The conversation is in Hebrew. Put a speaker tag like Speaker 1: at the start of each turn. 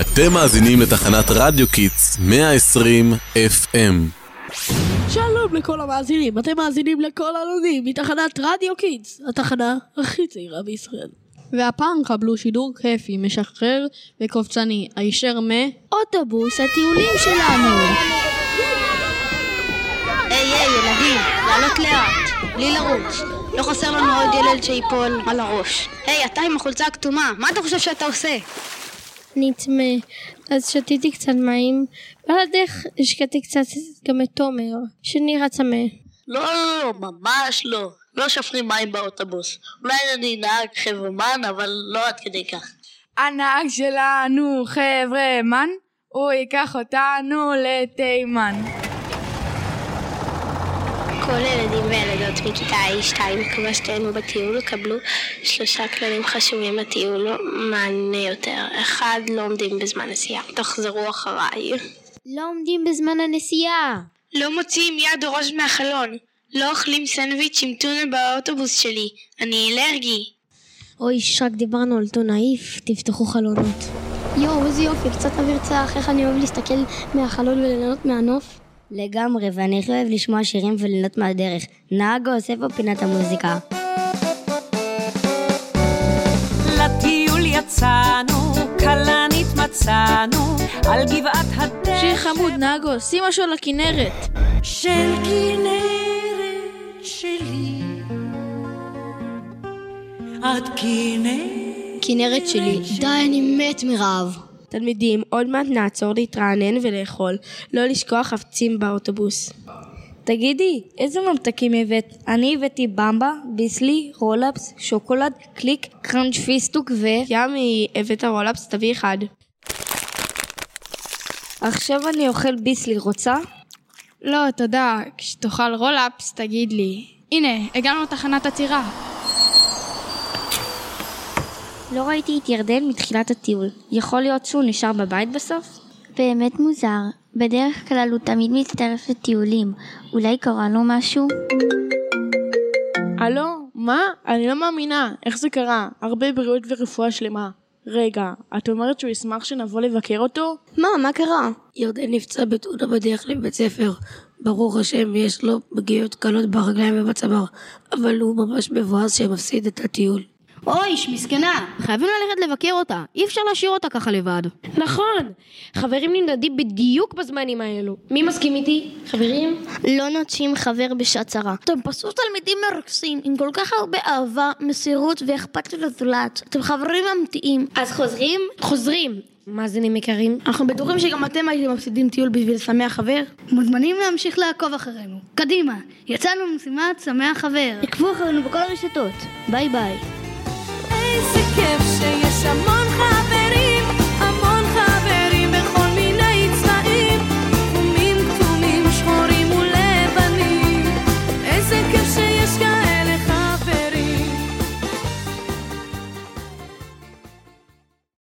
Speaker 1: אתם מאזינים לתחנת רדיו קיטס 120 FM.
Speaker 2: שלום לכל המאזינים, אתם מאזינים לכל הלונים מתחנת רדיו קידס, התחנה הכי צעירה בישראל.
Speaker 3: והפעם קבלו שידור כיפי, משחרר וקופצני, הישר מ...
Speaker 4: אוטובוס הטיולים שלנו.
Speaker 5: היי היי ילדים, לעלות לאט, בלי לרוץ. לא חסר לנו עוד ילד שיפול על הראש. היי, אתה עם החולצה הכתומה, מה אתה חושב שאתה עושה?
Speaker 6: נטמא. אז שתיתי קצת מים, ועל הדרך השקעתי קצת גם את תומר, שנראה צמא.
Speaker 5: לא, לא, לא, ממש לא. לא שופכים מים באוטובוס. אולי אני נהג חברמן, אבל לא עד כדי כך.
Speaker 7: הנהג שלנו, חבר'ה, מן, הוא ייקח אותנו לתימן.
Speaker 5: כל הילדים והילדות מכיתה A2, כמו שתהיינו בטיול, קבלו שלושה כללים חשובים לטיול, מענה יותר. אחד, לא עומדים בזמן נסיעה. תחזרו אחריי.
Speaker 4: לא עומדים בזמן הנסיעה.
Speaker 5: לא מוציאים יד או ראש מהחלון. לא אוכלים סנדוויץ' עם טונה באוטובוס שלי. אני אלרגי.
Speaker 4: אוי, שרק דיברנו על טונה איף, תפתחו חלונות.
Speaker 6: יואו, איזה יופי, קצת אוויר צח, איך אני אוהב להסתכל מהחלון וליהנות מהנוף.
Speaker 8: לגמרי, ואני הכי אוהב לשמוע שירים ולילות מהדרך. נהגו עושה פה פינת המוזיקה.
Speaker 9: לטיול יצאנו, כלנית מצאנו, על גבעת הדרך
Speaker 3: שיר חמוד, נהגו, שים משהו לכנרת.
Speaker 9: של כנרת שלי. את כנרת
Speaker 3: כנרת שלי.
Speaker 2: די, אני מת מרעב.
Speaker 10: תלמידים, עוד מעט נעצור להתרענן ולאכול, לא לשכוח חפצים באוטובוס.
Speaker 8: תגידי, איזה ממתקים הבאת? אני הבאתי במבה, ביסלי, רולאפס, שוקולד, קליק, קראנץ' פיסטוק ו...
Speaker 10: ימי, הבאת רולאפס, תביא אחד.
Speaker 8: עכשיו אני אוכל ביסלי, רוצה?
Speaker 7: לא, תודה. כשתאכל רולאפס, תגיד לי. הנה, הגענו לתחנת עצירה.
Speaker 8: לא ראיתי את ירדן מתחילת הטיול. יכול להיות שהוא נשאר בבית בסוף?
Speaker 6: באמת מוזר, בדרך כלל הוא תמיד מצטרף לטיולים, אולי קרה לו משהו?
Speaker 10: הלו, מה? אני לא מאמינה, איך זה קרה? הרבה בריאות ורפואה שלמה. רגע, את אומרת שהוא ישמח שנבוא לבקר אותו?
Speaker 8: מה, מה קרה?
Speaker 11: ירדן נפצע בתאונה בדרך לבית ספר. ברוך השם, יש לו פגיעות קלות ברגליים ובצוואר, אבל הוא ממש מבואס שמפסיד את הטיול.
Speaker 12: אויש, מסכנה! חייבים ללכת לבקר אותה, אי אפשר להשאיר אותה ככה לבד.
Speaker 13: נכון! חברים נמדדים בדיוק בזמנים האלו. מי מסכים איתי? חברים?
Speaker 6: לא נוטשים חבר בשעת צרה.
Speaker 14: אתם פשוט תלמידים מרקסים, עם כל כך הרבה אהבה, מסירות ואכפתיות לזולת. אתם חברים אמיתיים.
Speaker 13: אז חוזרים? חוזרים! מאזינים יקרים,
Speaker 12: אנחנו בטוחים שגם אתם הייתם מפסידים טיול בשביל לשמח חבר.
Speaker 14: מוזמנים להמשיך לעקוב אחרינו. קדימה, יצאנו למשימת שמח חבר.
Speaker 4: עקבו אחרינו בכל הרשתות. ביי ביי.
Speaker 9: איזה כיף שיש המון